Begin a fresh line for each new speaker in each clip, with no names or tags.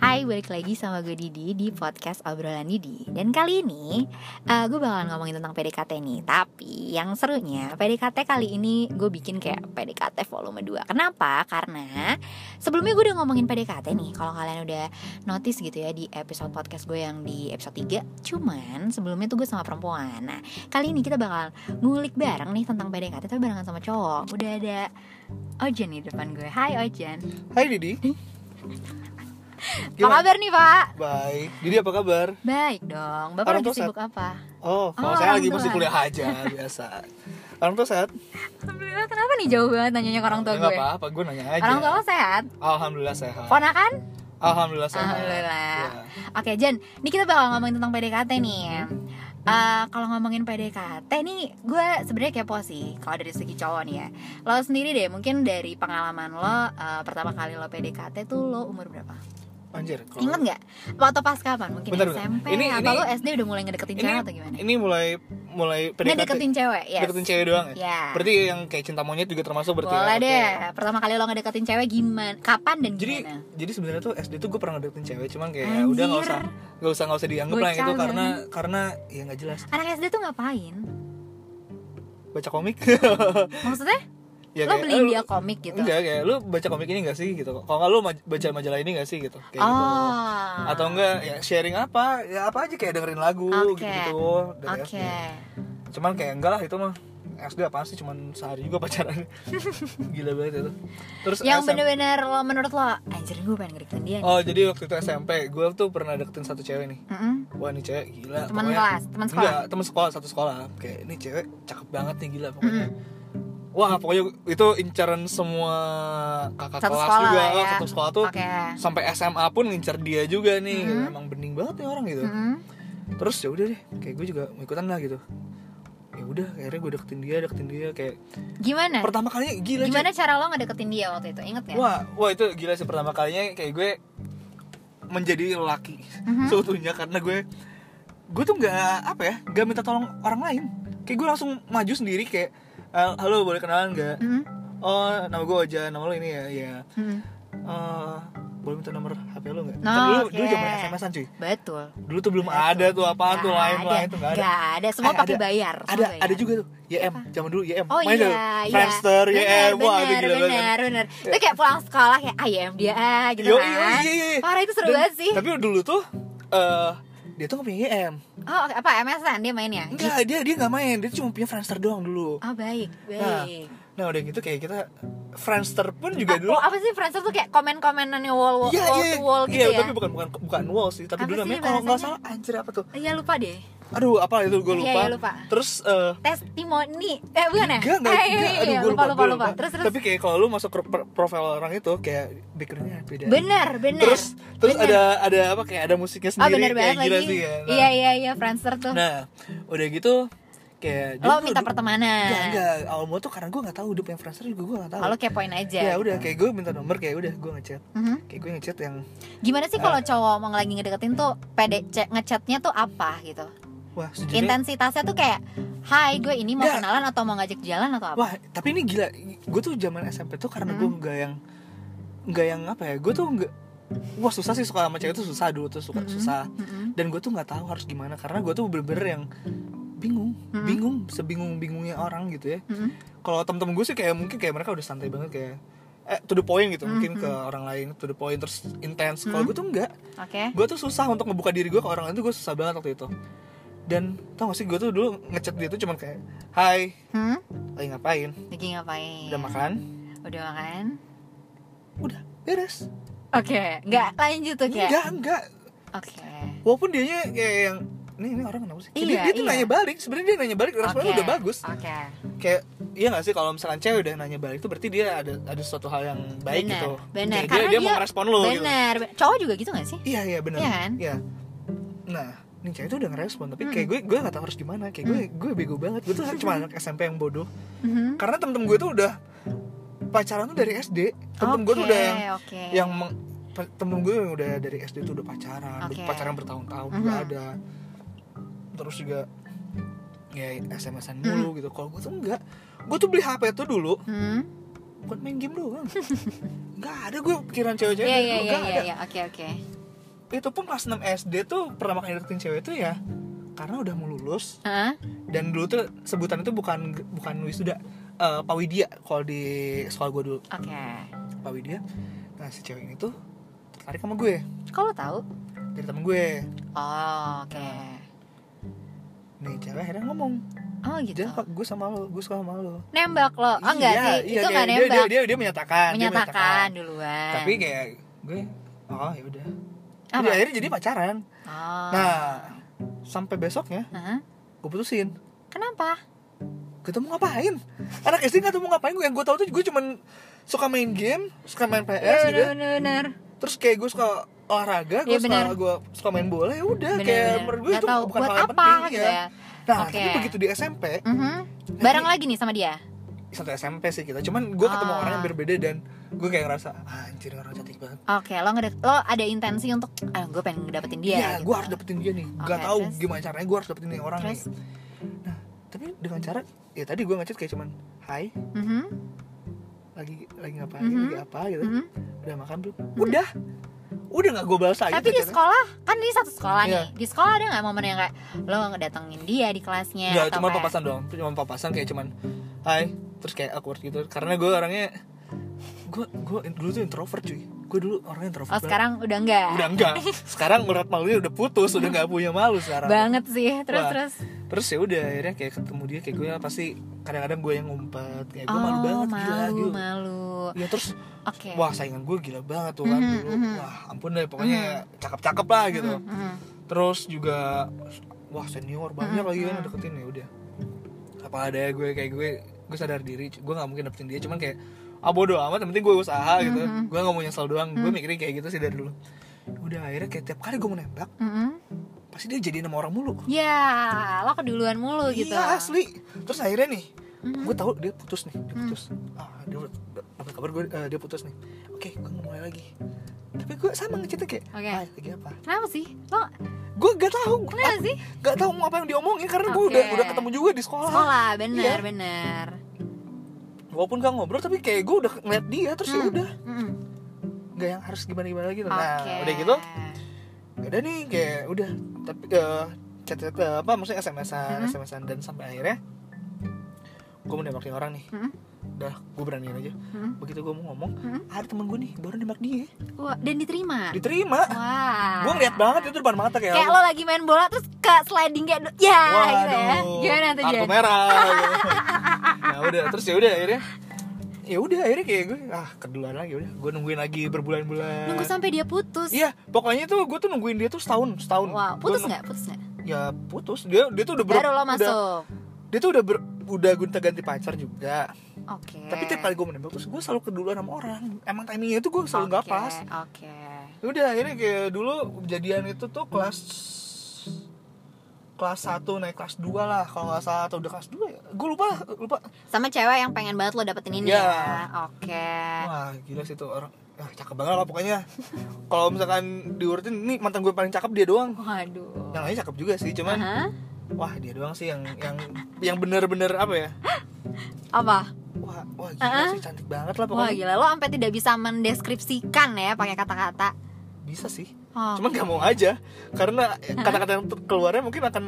Hai, balik lagi sama gue Didi di podcast Obrolan Didi Dan kali ini eh, gue bakalan ngomongin tentang PDKT nih Tapi yang serunya PDKT kali ini gue bikin kayak PDKT volume 2 Kenapa? Karena sebelumnya gue udah ngomongin PDKT nih Kalau kalian udah notice gitu ya di episode podcast gue yang di episode 3 Cuman sebelumnya tuh gue sama perempuan Nah kali ini kita bakal ngulik bareng nih tentang PDKT Tapi barengan sama cowok Udah ada Ojan nih di depan gue Hai Ojan
Hai Didi.
Apa kabar nih pak?
Baik. Didi apa kabar?
Baik dong, Bapak
Orang
lagi
tua sehat?
sibuk apa?
Oh, kalau
Oh,
saya
orang
lagi masih
tua.
kuliah aja biasa. Orang tua sehat?
Alhamdulillah, kenapa nih jauh banget nanyanya ke orang tua
Ya, nggak
gue?
apa-apa, gue nanya aja.
Orang tua lo sehat?
Alhamdulillah sehat.
Ponakan?
Alhamdulillah sehat.
Alhamdulillah.
Ya.
Oke, Jan, ini kita bakal ngomongin tentang PDKT nih ya.
Mm-hmm.
Eh, kalau ngomongin PDKT nih, gue sebenarnya kepo sih kalau dari segi cowok nih ya. Lo sendiri deh, mungkin dari pengalaman lo eh, pertama kali lo PDKT tuh lo umur berapa?
Anjir. kalau-
Ingat nggak? Waktu pas kapan? Mungkin
Bentar, bentar.
SMP
Ini-
atau
ini-
lo SD udah mulai ngedeketin
ini-
cewek atau gimana?
Ini mulai mulai
Ngedeketin cewek, yes.
deketin cewek doang ya.
Ya.
Berarti yang kayak cinta monyet juga termasuk berarti.
Boleh
ya? Oke.
deh. Pertama kali lo ngedeketin cewek gimana? Kapan dan
Jadi
gimana?
jadi sebenarnya tuh SD tuh gue pernah deketin cewek cuman kayak
Anjir.
udah nggak usah nggak usah nggak usah dianggap lah
Bocah
yang itu
lu
karena karena ya nggak jelas
Anak SD tuh ngapain?
baca komik
Maksudnya?
ya
lo
kayak,
beliin
"Eh, lu-
dia komik gitu?
Enggak kayak lu baca komik ini gak sih gitu. Kalau nggak lu ma- baca majalah ini gak sih gitu. Kayak gitu.
oh.
Atau enggak ya sharing apa? Ya apa aja kayak dengerin lagu
Oke.
gitu-gitu dari
Oke.
SD. Cuman kayak enggak lah itu mah SD apaan sih cuman sehari juga pacaran. Gila banget itu. Terus
Yang
SM
bener-bener lo menurut lo anjir gue pengen ngedeketin dia. nih.
Oh, jadi waktu itu SMP gue tuh pernah deketin satu cewek nih.
Mm-mm.
Wah, ini cewek gila.
Teman
pokoknya-
kelas, teman sekolah.
Enggak, teman sekolah, satu sekolah. Kayak ini cewek cakep banget nih gila pokoknya. Wah, pokoknya itu incaran semua kakak
Satu
kelas
sekolah
juga,
lah ya.
satu sekolah tuh
Oke.
sampai SMA pun ngincar dia juga nih.
Mhm.
Emang bening banget nih orang gitu.
Mm-mm.
Terus ya udah deh, kayak gue juga mau ikutan lah gitu. Ya udah, akhirnya gue deketin dia, deketin dia kayak
Gimana?
pertama kalinya gila cuy.
Eh. Gimana cara lo ngedeketin dia waktu itu? Ingat ya? gak?
Wah, wah itu gila sih pertama kalinya kayak gue menjadi lelaki
Mhm.
seutuhnya karena gue gue tuh nggak apa ya nggak minta tolong orang lain kayak gue langsung maju sendiri kayak "Eh, halo boleh kenalan nggak
Mm-mm.
oh nama gue aja nama lo ini ya ya
Mm-mm.
Eh, boleh minta nomor hp lo nggak
No,
Kan dulu dulu
Oh, oke.
zaman smsan cuy
Betul.
dulu tuh belum ada tuh apaan tuh
Nggak
lain
ada.
lain tuh nggak ada
Nggak ada. Semua
Eh,
pakai
ada.
bayar. Semua
ada
bayar.
ada juga tuh YM zaman dulu YM
Oh
Main
iya,
tuh,
iya.
Friendster
Bener,
YM wah itu
bener,
gila banget
bener, bener. Itu kayak pulang sekolah kayak ayam dia ah, gitu
Yo,
kan.
yo, iya, iya.
Parah itu seru
Dan-
banget sih.
Tapi dulu tuh eh dia tuh gak punya YM.
Oh, oke, apa MSN dia mainnya?
Enggak, dia dia nggak main, dia cuma punya Friendster doang dulu.
Oh, baik,
Nah,
baik.
nah udah gitu kayak kita Friendster pun juga dulu.
Oh, apa sih Friendster tuh kayak komen-komenannya wall wall,
Iya,
wall
iya.
to wall gitu
Iya,
ya?
tapi bukan bukan bukan wall sih, tapi
Apa
dulu
sih
namanya kalau nggak
bahasanya?
salah anjir apa tuh?
Iya lupa deh.
Aduh, apa itu gue
Iya,
lupa.
iya, lupa.
Terus eh
Testimoni. Eh, bukan ya?
Enggak, enggak,
Eh, iya,
enggak.
iya,
Aduh,
iya.
gue
lupa, lupa,
gua
lupa. Terus terus.
Tapi kayak kalau lu masuk ke pro- profil orang itu kayak backgroundnya beda.
Bener, bener.
Terus terus
Bener.
ada ada apa kayak ada musiknya
Oh,
sendiri
bener
kayak
banget
gila
lagi.
sih ya. Nah,
Iya, iya, iya, Friendster tuh.
Nah, udah gitu kayak
Lo
dulu- Iya,
minta
Enggak,
pertemanan.
enggak. Awal mula tuh karena gue gak tahu udah punya Friendster juga gue gak tahu.
Kalau gitu. kepoin aja.
ya udah kayak gue minta nomor kayak udah gue ngechat.
Mhm.
Kayak gue ngechat yang
Gimana sih
Ah.
kalau cowok mau lagi ngedeketin tuh pede ce- ngechatnya tuh apa gitu?
wah sejujurnya
Intensitasnya tuh kayak Hai gue ini mau
Nggak.
kenalan atau mau ngajak jalan atau apa?
wah tapi ini gila. Gue tuh zaman SMP tuh karena gue nggak yang nggak yang apa ya. Gue tuh nggak wah susah sih suka sama cewek tuh susah dulu tuh
Mhm.
suka susah.
Mhm.
Dan gue tuh nggak tahu harus gimana karena gue tuh bener-bener yang bingung,
Mhm.
bingung, sebingung-bingungnya orang gitu ya.
Mhm.
Kalau temen-temen gue sih kayak mungkin kayak mereka udah santai banget kayak eh to the point gitu mungkin ke orang lain to the point terus intense. Kalau gue tuh enggak.
Oke.
gue tuh susah untuk ngebuka diri gue ke orang lain tuh gue susah banget waktu itu dan tau gak sih gue tuh dulu ngechat dia tuh cuman kayak hai
Hmm?
lagi ngapain
Lagi ngapain?
udah makan
Udah makan?
udah beres
Oke, nggak lanjut tuh kayak.
enggak enggak
Oke.
walaupun dianya kayak yang ini ini orang kenapa sih Kayak
Iya,
dia, dia tuh
iya.
nanya balik sebenarnya dia nanya balik
Oke.
responnya
Ah.
udah bagus
Oke.
kayak iya gak sih kalau misalkan cewek udah nanya balik tuh berarti dia ada ada suatu hal yang baik
Bener,
gitu
bener.
Kayak dia,
Karena
dia,
dia-
mau ngerespon lo gitu
Bener. be- Cowok juga gitu gak sih?
Iya iya benar.
Iya kan? Hmm.
Nah, nih cewek itu udah ngerespon tapi
Mm-mm.
kayak gue gue gak tahu harus gimana. Kayak
Hmm.
gue gue bego banget. Gue tuh cuma anak SMP yang bodoh.
Mhm.
Karena temen-temen gue tuh udah pacaran tuh dari SD. Temen-temen gue tuh
Oke,
udah yang
Oke.
yang meng- pe- temen gue yang udah dari SD tuh udah pacaran,
Oke.
udah pacaran bertahun-tahun
Mhm.
juga ada. Terus juga ya
Mm-hmm.
SMS-an mulu gitu. Kalau gue tuh enggak. Gue tuh beli HP tuh dulu
Hmm?
buat main game doang. Enggak ada gue pikiran cewek-cewek.
Iya
Enggak
iya iya
ada
iya, iya. Oke oke.
itu pun kelas 6 SD tuh pertama kali deketin cewek itu ya karena udah mau lulus
Hah?
dan dulu tuh sebutan itu bukan bukan wisuda eh pawidia kalau di sekolah gue dulu
Oke.
pawidia nah si cewek ini tuh tertarik sama gue
Kalau tahu?
dari temen gue
Oh, oke.
nih Nah, cewek akhirnya ngomong
Oh Hmm. gitu.
jangan gue sama lo gue suka sama lo
Nembak lo? Oh enggak
Iya,
sih,
iya,
itu enggak
kayak dia,
nembak.
dia, dia, dia menyatakan dia
menyatakan duluan.
tapi kayak gue oh ya udah
Apa?
jadi akhirnya jadi pacaran
Oh.
nah sampai besoknya
Hah?
gue putusin
Kenapa?
gue tuh mau ngapain anak SD nggak tuh mau ngapain gue yang gue tau tuh gue cuman suka main game suka main PS gitu
benar.
terus kayak gue suka olahraga gue
Iya,
suka
benar.
gue suka main bola ya udah kayak menurut gue itu
tahu
bukan
buat
hal yang
apa
penting
gitu
ya.
ya.
nah
Oke.
tapi begitu di SMP
Mhm. Bareng lagi nih sama dia.
satu SMP sih kita cuman gue ketemu
Ah.
orang yang berbeda dan gue kayak ngerasa "Ah, anjir orang cantik banget
Oke, lo ngedek, lo ada intensi untuk, ah, gue pengen ngedapetin dia.
ya
gitu.
gue harus dapetin dia nih gak
Oke,
tahu
terus?
gimana caranya gue harus dapetin nih orang
Terus,
nih tapi dengan cara ya tadi gue ngechat kayak cuman hai
mhm,
lagi lagi ngapain
Mhm.
lagi apa gitu
mhm.
udah makan belum udah udah nggak gue balas lagi
tapi di
tuh chatnya.
sekolah kan ini satu sekolah
Nah, gitu Iya.
nih. Di sekolah ada nggak momen yang kayak lo ngedatengin dia di kelasnya?
Nggak,
atau
cuma
kayak-
papasan doang cuma papasan kayak cuman hai terus kayak awkward gitu karena gue orangnya gue gue dulu tuh introvert cuy gue dulu orangnya introvert
Oh
banget.
sekarang ya? udah enggak?
udah enggak sekarang urat malunya udah putus udah nggak punya malu sekarang
Banget sih. Terus
Wah,
terus.
terus ya udah akhirnya kayak ketemu dia kayak gue pasti kadang-kadang gue yang ngumpet kayak gue Eh, malu
oh
banget gila
malu
gitu
malu.
ya terus
Oke.
wah saingan gue gila banget tuh kan
Mhm,
dulu
mhm.
wah ampun deh pokoknya cakep-cakep lah gitu
Mhm, mhm.
terus juga wah senior banyak
Mhm,
lagi kan
mhm.
deketin ya udah apa ada ya gue kayak gue gue sadar diri gue nggak mungkin dapetin dia cuman kayak ah bodo amat yang penting gue usaha gitu
Mhm.
gue nggak mau nyesel doang gue
Mhm.
mikirnya kayak gitu sih dari dulu udah akhirnya kayak tiap kali gue mau nembak
Mhm.
pasti dia jadi nama orang mulu
Ya, lo keduluan mulu gitu.
iya asli terus akhirnya nih
Mhm.
gue tahu dia putus nih
Mm.
dia putus ah dia apa kabar gue eh, dia putus nih oke gue mau mulai lagi tapi gue sama ngecetnya kayak
Oke.
ah, lagi apa
Kenapa sih? Lo
gue gak tahu gue
kenapa sih?
gak tahu mau apa yang diomongin karena gue
Oke.
udah udah ketemu juga di sekolah
Sekolah, bener
Iya.
bener.
walaupun gak ngobrol tapi kayak gue udah ngeliat dia terus ya
Hmm.
udah
Mhm.
gak yang harus gimana gimana gitu
Oke.
nah udah gitu udah nih kayak udah tapi eh chat chat apa maksudnya smsan
Mhm.
smsan dan sampai akhirnya gue mau nembakin orang nih
Mhm.
udah gue beraniin aja
Mhm.
begitu gue mau ngomong
Mhm.
ada temen gue nih baru nembak dia
Wah, dan diterima.
diterima
Nah. Wah.
gue ngeliat banget ya. itu depan mata kayak,
Kayak lo lagi main bola terus ke sliding kayak du- ya gitu ya.
waduh
Gimana tuh
kartu
Jen?
merah gitu. nah udah terus ya udah akhirnya ya udah akhirnya kayak gue ah keduluan lagi udah gue nungguin lagi berbulan-bulan
Nunggu sampai dia putus.
iya pokoknya tuh gue tuh nungguin dia tuh setahun setahun
Wow,
Gue
putus
nung-
nggak? Putus nggak?
ya putus dia dia tuh udah ber-
Baru lo
udah-
masuk.
dia tuh udah ber- udah gonta ganti pacar juga
Oke.
tapi tiap kali gue menembak terus gue selalu keduluan sama orang emang timingnya tuh gue selalu nggak
Oke,
pas
Oke.
udah akhirnya kayak dulu kejadian itu tuh kelas kelas 1 naik kelas 2 lah kalau nggak salah atau udah kelas 2 ya gue lupa lah, lupa
Sama cewek yang pengen banget lo dapetin ini
Iya.
ya. Oke.
wah gila sih tuh orang ah, cakep banget lah pokoknya kalau misalkan diurutin nih mantan gue paling cakep dia doang
Waduh.
yang lain cakep juga sih cuman
Aha.
wah dia doang sih yang yang yang bener-bener apa ya
Apa?
wah wah gila
Ah.
sih cantik banget lah
Wah iya.
pokoknya
gila lo sampai tidak bisa mendeskripsikan ya pakai kata-kata.
bisa sih
Oh.
cuman gak mau aja karena kata-kata yang ter- keluarnya mungkin akan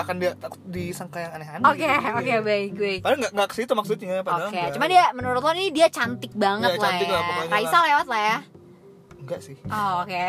akan dia takut disangka yang aneh-aneh
Oke,
gitu.
oke baik baik.
Padahal gak, gak ke situ maksudnya
Oke,
padahal nggak.
cuman dia menurut lo nih dia cantik banget
Iya,
lah
cantik
ya.
lah pokoknya
Raisa lewat lah ya.
Enggak sih
Oh, oke.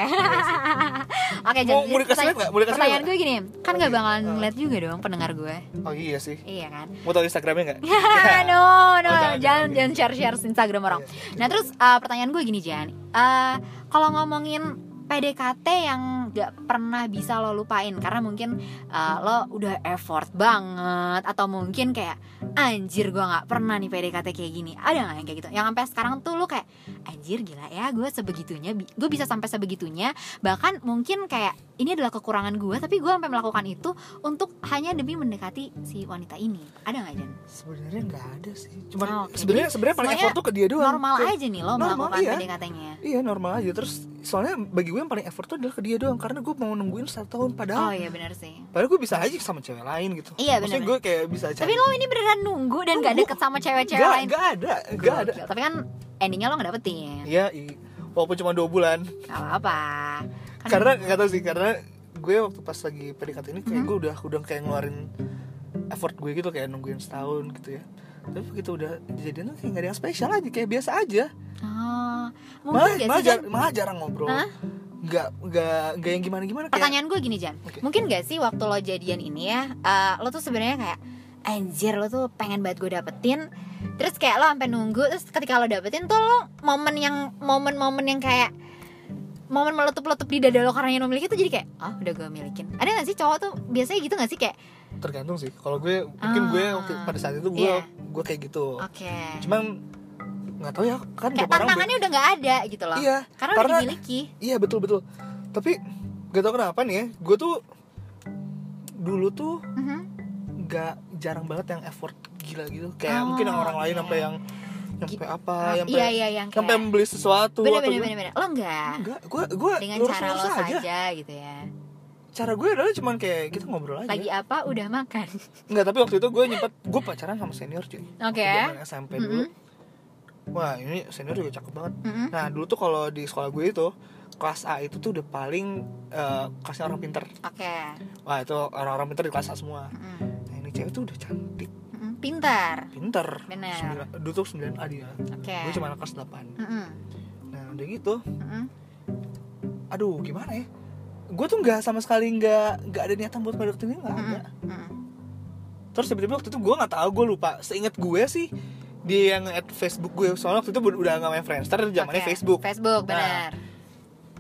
oke,
Mau-
jadi
mau dikasih lihat nggak? Iya. Ah. Mau dikasih
pertanyaan
lihat
gue gini, kan gak bakalan
Oke.
ngeliat juga dong pendengar gue.
Oh iya sih
Iya kan? Ah,
Mau tau Instagramnya gak?
Iya, no, no,
Oh,
jangan
jangan,
jangan,
jangan.
share-share Instagram orang.
Iya,
Nah, terus eh, pertanyaan gue gini, Jan. Eh, kalau ngomongin PDKT yang gak pernah bisa lo lupain karena mungkin eh, lo udah effort banget atau mungkin kayak anjir gue nggak pernah nih PDKT kayak gini ada nggak yang kayak gitu yang sampai sekarang tuh lo kayak anjir gila ya gue sebegitunya gue bisa sampai sebegitunya bahkan mungkin kayak ini adalah kekurangan gue tapi gue sampai melakukan itu untuk hanya demi mendekati si wanita ini ada nggak Jan?
Sebenarnya gak ada sih Cuman
Oh, oke.
sebenarnya sebenarnya paling
Semuanya
effort tuh ke dia doang
normal
Kayak-
aja nih lo
normal,
melakukan
iya.
PDKT-nya.
Iya normal aja Terus soalnya bagi gue yang paling effort tuh adalah ke dia doang Karena gue mau nungguin satu tahun
Oh
Padahal
iya benar sih.
Padahal gue bisa aja sama cewek lain gitu
Iya,
Maksudnya
benar-benar.
gue kayak bisa cari
Tapi lo ini beneran nunggu dan gak
Nunggu.
deket sama cewek-cewek
Nggak,
lain.
nggak ada Gak ada
Gokil. Tapi kan endingnya lo gak dapetin.
Iya i- walaupun cuma dua bulan
Gak apa-apa Kan-
karena nggak tahu sih karena gue waktu pas lagi PDKT ini kayak gue udah udah kayak ngeluarin effort gue gitu kayak nungguin setahun gitu ya tapi begitu udah jadian tuh kayak gak ada yang spesial aja kayak biasa aja
oh, Mungkin
malah
gak
malah,
sih
jar-
Jan?
malah jarang ngobrol
Hah?
nggak nggak nggak yang gimana gimana kayak
Pertanyaan gue gini Jan
Oke.
Mungkin gak sih waktu lo jadian ini ya eh, Lo tuh sebenarnya kayak Anjir lo tuh pengen banget gue dapetin Terus kayak lo sampai nunggu Terus ketika lo dapetin tuh lo momen yang Momen-momen yang kayak Momen meletup-letup di dada lo karena yang lo miliki tuh jadi kayak Oh udah gue milikin Ada gak sih cowok tuh biasanya gitu gak sih kayak
tergantung sih kalau gue mungkin
Ah.
gue waktu- pada saat itu gue
Iya.
gue kayak gitu
Oke
cuman nggak tahu ya kan
Kayak
tiap orang be-
tantangannya udah gak ada gitu loh
iya
Karena, udah
karena-
dimiliki
Iya betul betul. Tapi gak tau kenapa nih ya, gue tuh dulu tuh
Mhm.
gak jarang banget yang effort gila gitu. Kayak
Oh,
mungkin yang orang lain
iya.
sampai yang sampai apa, Ah, yang
Iya iya yang kayak
sampai beli sesuatu
bener,
atau
bener,
gimana. Hmm.
bener, bener. Lo enggak
Enggak, gue gue
Dengan
lurus
cara lo
lurus aja.
saja. gitu ya
Cara gue adalah cuman kayak kita ngobrol aja.
Lagi apa udah makan
Enggak, tapi waktu itu gue nyempet gue pacaran sama senior cuy.
Oke.
Zaman SMP dulu.
Mhm.
Wah ini senior juga cakep banget.
Mhm.
Nah dulu tuh kalau di sekolah gue itu kelas A itu tuh udah paling eh, kelasnya orang pinter.
Oke
Wah itu orang-orang pinter di kelas A semua
Mhm.
Nah ini cewek tuh udah cantik,
Mhm. Pintar
pinter
Bener.
Sembilan- Dulu tuh 9A dia
Oke
Gue cuma anak kelas 8
Mhm.
Nah udah gitu,
Mhm.
aduh gimana ya Gue tuh gak sama sekali gak, nggak ada niatan buat ngedeketin dia, gak ada
Mhm. Mhm.
Terus tiba-tiba waktu itu gue gak tahu gue lupa Seinget gue sih dia yang add Facebook gue Soalnya waktu itu udah gak main Friendster, zamannya
Oke.
Facebook
Facebook
Nah.
benar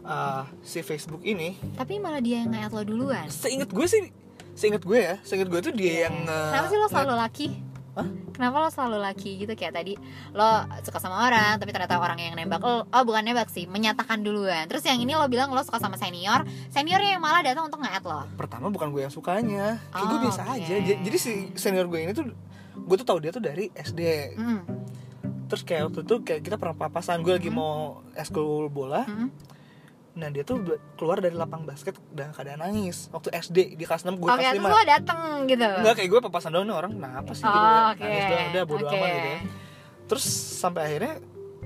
Ah, Si Facebook ini,
Tapi malah dia yang nge-add lo duluan
seinget gue sih Seinget gue ya, seinget gue tuh dia yang eh,
Iya. Kenapa sih lo selalu laki?
Hah?
Kenapa lo selalu laki gitu kayak tadi lo suka sama orang tapi ternyata orang yang nembak lo oh bukan nembak sih menyatakan duluan terus yang ini lo bilang lo suka sama senior seniornya yang malah datang untuk nge-add lo
pertama bukan gue yang sukanya kayak gue
Oh,
biasa
oke.
aja Ja- jadi si senior gue ini tuh gue tuh tahu dia tuh dari SD
Mm,
terus kayak waktu itu kayak kita pernah papasan gue lagi
Hmm.
mau eskul bola
mm.
nah dia tuh be- keluar dari lapang basket dalam keadaan nangis waktu SD di kelas 6 gue
Oke
kelas
terus
5
lo dateng gitu
Enggak kayak gue papasan doang nih orang kenapa sih gitu
Oh,
ya.
oke.
nangis doang udah bodo
Oke.
amat gitu ya terus sampai akhirnya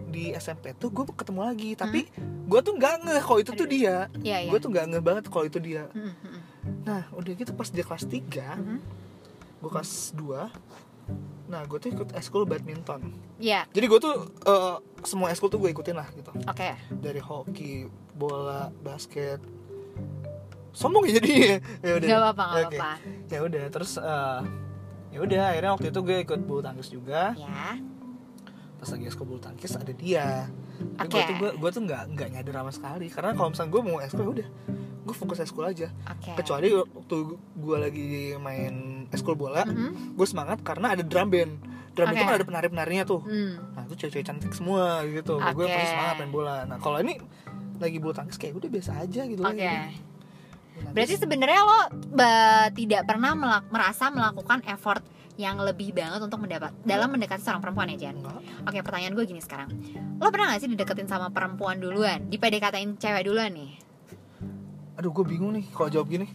di SMP tuh gue ketemu lagi tapi gue tuh nggak ngeh kalau itu
Hmm? Aduh.
tuh dia
Iya iya
gue tuh nggak ngeh banget kalau itu dia
Mm, mm, mm,
nah udah gitu pas dia kelas 3
mm.
gue kelas 2 nah gue tuh ikut eskul badminton
Iya
jadi gue tuh eh, semua eskul tuh gue ikutin lah gitu
oke
dari hoki bola basket sombong ya jadi ya udah
Gak apa-apa gak
Oke.
apa-apa
ya udah terus eh, ya udah akhirnya waktu itu gue ikut bulu tangkis juga
Ya
pas lagi eskul bulu tangkis ada dia Tapi gue
Oke.
tuh gue, gue tuh nggak nggak nyadar sama sekali karena kalau misalnya gue mau eskul ya udah gue fokus eskul aja
oke
kecuali waktu gue lagi main eskul bola
Mhm.
gue semangat karena ada drum band drum band itu
Oke.
kan ada penari penarinya tuh
Mm.
nah itu cewek-cewek cantik semua gitu gue
Oke.
pasti semangat main bola nah kalau ini lagi bulu tangkis kayak udah biasa aja gitu
Oke
Bulu tangkis.
Berarti sebenarnya lo ba- tidak pernah melak- merasa melakukan effort yang lebih banget untuk mendapat dalam mendekati seorang perempuan ya Jan.
enggak
Oke pertanyaan gue gini sekarang, lo pernah gak sih dideketin sama perempuan duluan, di PDKT-in cewek duluan nih?
aduh gue bingung nih kalau jawab gini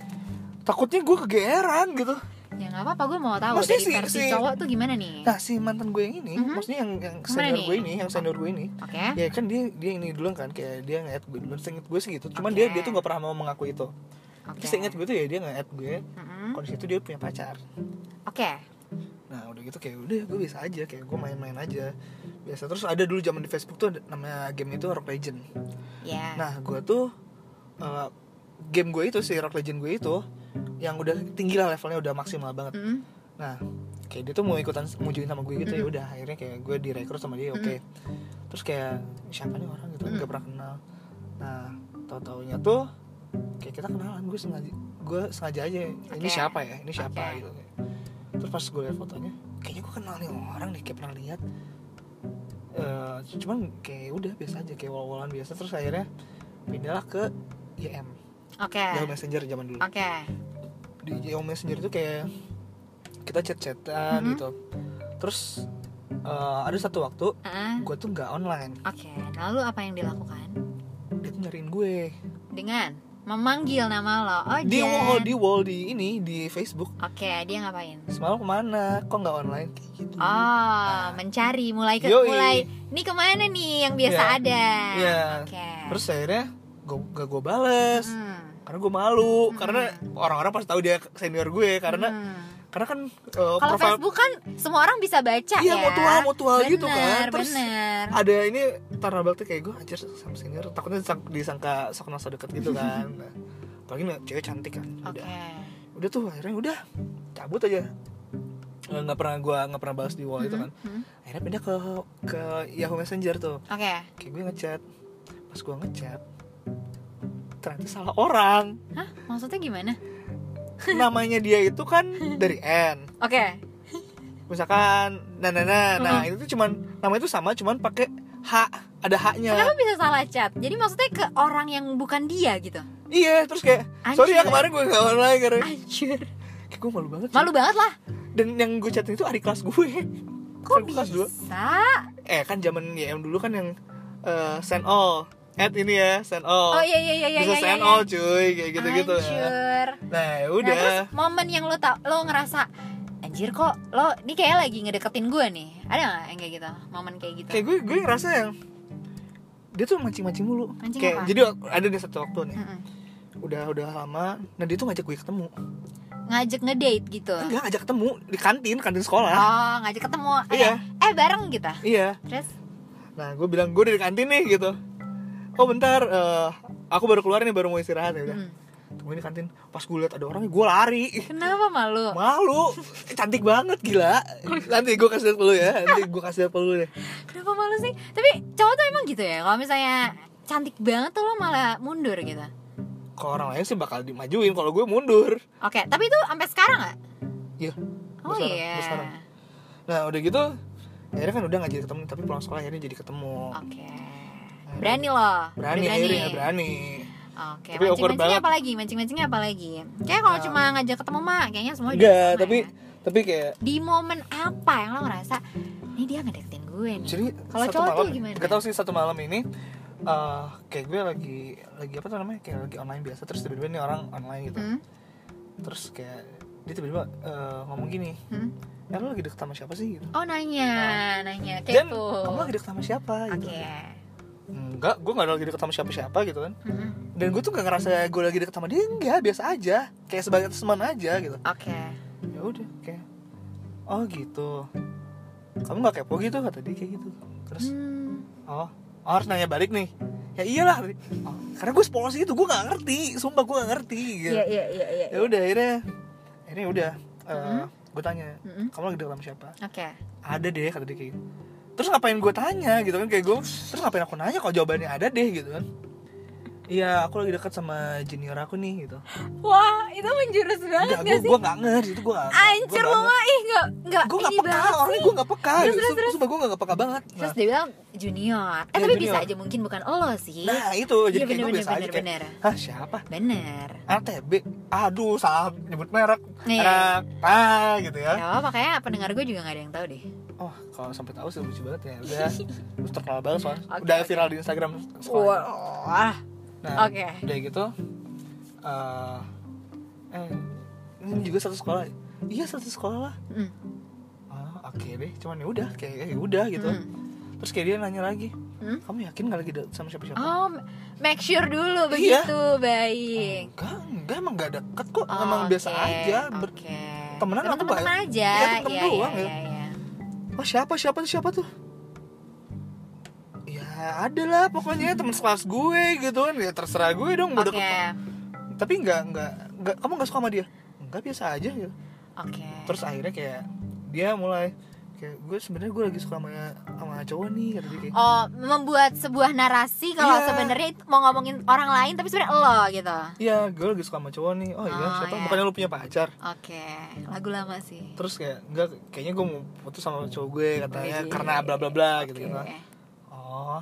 takutnya gue kegeeran gitu
Ya nggak apa-apa gue mau tahu
Maksudnya
dari
si-
versi
si-
cowok tuh gimana nih?
nah si mantan gue yang ini
Mhm.
maksudnya yang yang
Gimana
senior
nih? Eh?
gue ini yang senior gue ini
Oke,
ya kan dia dia ini duluan kan kayak dia nge-add gue duluan seinget gue sih gitu cuman
Oke.
dia dia tuh nggak pernah mau mengaku
oke.
itu
Mhm.
tapi seinget gue tuh ya dia nge-add gue
Mm-mm.
kondisi itu dia punya pacar
Oke,
Nah udah gitu kayak udah gue biasa aja kayak gue main-main aja biasa terus ada dulu zaman di Facebook tuh ada, namanya game itu Rock Legend.
ya.
Nah gue tuh eh, game gue itu si Rock Legend gue itu yang udah tinggi lah levelnya udah maksimal banget.
Mm-mm.
Nah kayak dia tuh mau ikutan mau join sama gue gitu
Mm.
ya udah akhirnya kayak gue direkrut sama dia oke. Terus kayak siapa nih orang gitu
Mm.
nggak pernah kenal. Nah tau taunya tuh kayak kita kenalan gue sengaja gue sengaja aja ini
Oke.
siapa ya ini siapa
Oke.
gitu terus pas gue liat fotonya kayaknya gue kenal nih orang deh kayak pernah lihat Eh, cuman kayak udah biasa aja kayak wal-walan biasa terus akhirnya pindahlah ke IM
Oke,
Yahoo Messenger zaman dulu
oke.
di
Hmm.
Yahoo Messenger itu kayak kita chat-chatan
Mhm.
gitu terus eh, ada satu waktu
Ah,
gue tuh nggak online
Oke, lalu apa yang dilakukan?
dia tuh nyariin gue
Dengan memanggil nama lo, oh
di
Jan.
wall di wall di ini di Facebook
Oke, dia ngapain?
semalam kemana kok nggak online kayak gitu
Oh, mencari mulai ke
Yoi.
mulai Ini kemana nih yang biasa
Iya.
ada?
Iya.
Oke.
terus akhirnya gue gak gue bales
Hmm.
karena gue malu
Hmm.
karena orang-orang pasti tahu dia senior gue karena
Hmm.
karena kan uh,
kalau Facebook kan semua orang bisa baca
iya
ya.
mutual mutual
bener,
gitu kan terus
bener.
ada ini karena bakti kayak gue anjir sama senior takutnya disang- disangka sok nasa deket gitu kan Nah, apalagi nih, cewek cantik kan
Oke.
udah udah tuh akhirnya udah cabut aja Eh, nggak pernah gue nggak pernah bahas di wall itu kan
Mhm.
akhirnya pindah ke ke Yahoo Messenger tuh
Oke.
kayak gue ngechat pas gue ngechat ternyata salah orang
Hah, maksudnya gimana?
namanya dia itu kan dari N
Oke.
misalkan nah nah nah, nah, itu tuh cuman namanya itu sama cuman pakai H ada haknya
Kenapa bisa salah chat? Jadi maksudnya ke orang yang bukan dia gitu.
iya terus kayak
Anjir.
sorry ya kemarin gue nggak online karena
Anjir.
kayak gue malu banget sih.
Malu banget lah.
dan yang gue chatin itu adik kelas gue
Kok
Kan gue kelas dua.
bisa?
eh kan zaman YM dulu kan yang eh, send all add ini ya send all
Oh iya iya iya iya.
bisa
iya,
send
iya.
all cuy kayak gitu gitu ya.
Anjir.
nah ya
Nah,
udah
terus momen yang lo tau, lo ngerasa anjir kok lo ini kayak lagi ngedeketin gue nih. Ada nggak yang kayak gitu? Momen kayak gitu.
kayak gue gue ngerasa yang dia tuh mancing-mancing mulu
Mancing
kayak
apa? Hmm.
jadi ada di satu waktu nih
Mm-mm.
udah udah lama nah dia tuh ngajak gue ketemu
Ngajak ngedate gitu.
enggak ngajak ketemu di kantin kantin sekolah
Oh, ngajak ketemu. Eh,
Iya.
Eh, bareng gitu.
iya
Terus
nah gue bilang gue dari kantin nih gitu oh bentar eh, aku baru keluar nih baru mau istirahat ya udah
hmm,
tungguin di kantin pas gue liat ada orang gue lari
kenapa malu?
malu Eh, cantik banget gila nanti gue kasih liat lu ya nanti gue kasih liat lu deh
Kenapa malu sih? Tapi cowok tuh emang gitu ya. Kalau misalnya cantik banget tuh lo malah mundur gitu.
kalau orang lain sih bakal dimajuin kalau gue mundur
Oke, tapi itu sampai sekarang nggak?
iya
Oh
Sampai sekarang,
iya.
sampai sekarang. nah udah gitu akhirnya kan udah nggak jadi ketemu tapi pulang sekolah akhirnya jadi ketemu
Oke. Berani lo.
Oh, berani,
Udah
akhirnya berani
Oke,
Tapi awkward
mancing-mancingnya
banget.
apa lagi? Mancing-mancingnya apa lagi? Kayak kalau
Ya.
cuma ngajak ketemu mah kayaknya semua udah
enggak
sama
tapi
ya.
tapi kayak
di momen apa yang lo ngerasa ini dia ngedeketin gue nih.
jadi
Kalau
satu
cowok tuh
malam
gimana? ya?
gak tau sih satu malam ini eh kayak gue lagi lagi apa tuh namanya kayak lagi online biasa terus tiba-tiba nih orang online gitu
Hmm?
terus kayak dia tiba-tiba eh, ngomong gini
Hmm?
ya lo lagi deket sama siapa sih gitu
Oh nanya, nanya
Nah. dan
kepo.
kamu lagi deket sama siapa
Oke.
gitu enggak gue gak ada lagi deket sama siapa-siapa gitu kan
Mm-mm.
dan gue tuh gak ngerasa gue lagi deket sama dia enggak biasa aja kayak sebagai teman aja gitu
Oke.
ya udah kayak oh gitu kamu nggak kepo gitu kata dia kayak gitu terus
Hmm.
oh, oh, harus nanya balik nih ya iyalah Oh, karena gue sepolos itu gue nggak ngerti sumpah gue nggak ngerti gitu.
Iya iya iya iya.
ya udah akhirnya akhirnya udah eh,
Mm.
gue tanya
Mm-mm.
kamu lagi deket sama siapa
Oke.
ada deh kata dia kayak gitu. terus ngapain gue tanya gitu kan kayak gue terus ngapain aku nanya kalau jawabannya ada deh gitu kan iya aku lagi deket sama junior aku nih gitu
Wah, itu menjurus banget
Enggak,
gak
gue
sih?
gue nggak ngerti itu gue
Anjir lu mah ih enggak enggak
gue nggak
ini
peka
banget
orangnya
sih.
gue nggak peka
Terus,
gitu.
terus, terus.
sumpah gue nggak peka banget nah,
Terus dia bilang junior. Eh
Iya,
tapi bisa
junior.
aja mungkin bukan lo sih.
nah itu jadi
Iya bener
kayak gue
bener
biasa aja
bener
kayak
bener.
hah siapa
Bener.
ATB aduh salah nyebut merek
Iya.
anak ah gitu ya
Ya apa kayak pendengar gue juga gak ada yang tahu deh.
oh kalau sampai tahu sih lucu banget ya udah terus terkenal banget soalnya
Oke,
udah
oke.
viral di Instagram sekolahnya.
Wah.
nah
oke.
udah gitu eh, eh ini juga satu sekolah iya satu sekolah lah
Mm.
ah, oke deh cuman ya udah kayak ya udah gitu
Mm.
terus kayak dia nanya lagi
Hmm?
kamu yakin gak lagi deket sama siapa siapa
Oh, make sure dulu
Iya.
begitu, baik.
enggak enggak emang gak deket kok
Oh,
emang biasa
oke,
aja Ber-
oke.
temenan
Temen-
aku baik.
temen aja.
Iya, temen doang ya.
iya, iya.
oh siapa siapa siapa tuh ya ada lah pokoknya teman sekelas gue gitu kan ya terserah gue dong mau
Oke.
deket tapi nggak nggak nggak kamu nggak suka sama dia nggak biasa aja gitu
Oke.
terus akhirnya kayak dia mulai kayak gue sebenarnya gue lagi suka sama sama cowok nih kata dia kayak
Oh, membuat sebuah narasi kalau
Iya.
sebenarnya itu mau ngomongin orang lain tapi sebenarnya lo gitu.
iya gue lagi suka sama cowok nih oh iya
Oh,
siapa
iya.
bukannya lu punya pacar
Oke, lagu lama sih.
terus kayak enggak kayaknya gue mau putus sama cowok gue katanya
Wih.
karena bla bla bla gitu gitu
Iya. Oke.
oh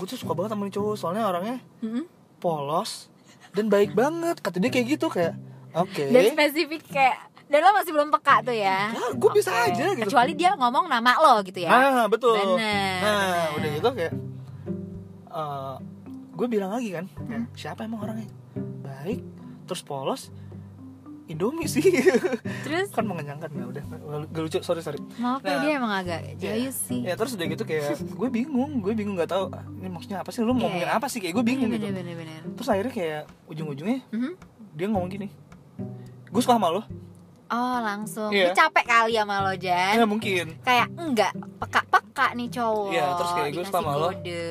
gue tuh suka banget sama nih cowok soalnya orangnya
Mm-mm.
polos dan baik banget kata dia kayak gitu kayak oke
Dan spesifik kayak dan lo masih belum peka tuh ya.
Enggak, gue ah, bisa
Oke.
aja gitu.
Kecuali dia ngomong nama lo gitu ya.
nah betul
Bener,
nah
bener.
udah gitu kayak eh
Hmm.
gue bilang lagi kan kayak, siapa emang orangnya baik terus polos Indomie sih
Terus
kan mengenyangkan ya udah gak lucu sorry sorry
maaf ya
Nah,
dia emang agak jayus sih.
ya terus udah gitu kayak gue bingung gue bingung nggak tahu ah, ini maksudnya apa sih
Iya,
lu ngomongin
iya.
apa sih kayak gue bingung gitu
Bener bener bener.
terus akhirnya kayak ujung-ujungnya
Mhm.
dia ngomong gini gue suka sama lo
Oh langsung.
Iya.
Dia capek kali sama lo Jan.
ya mungkin
Kayak enggak peka-peka nih cowok.
Iya, terus kayak gue
Dikasih
suka sama lo.
kode.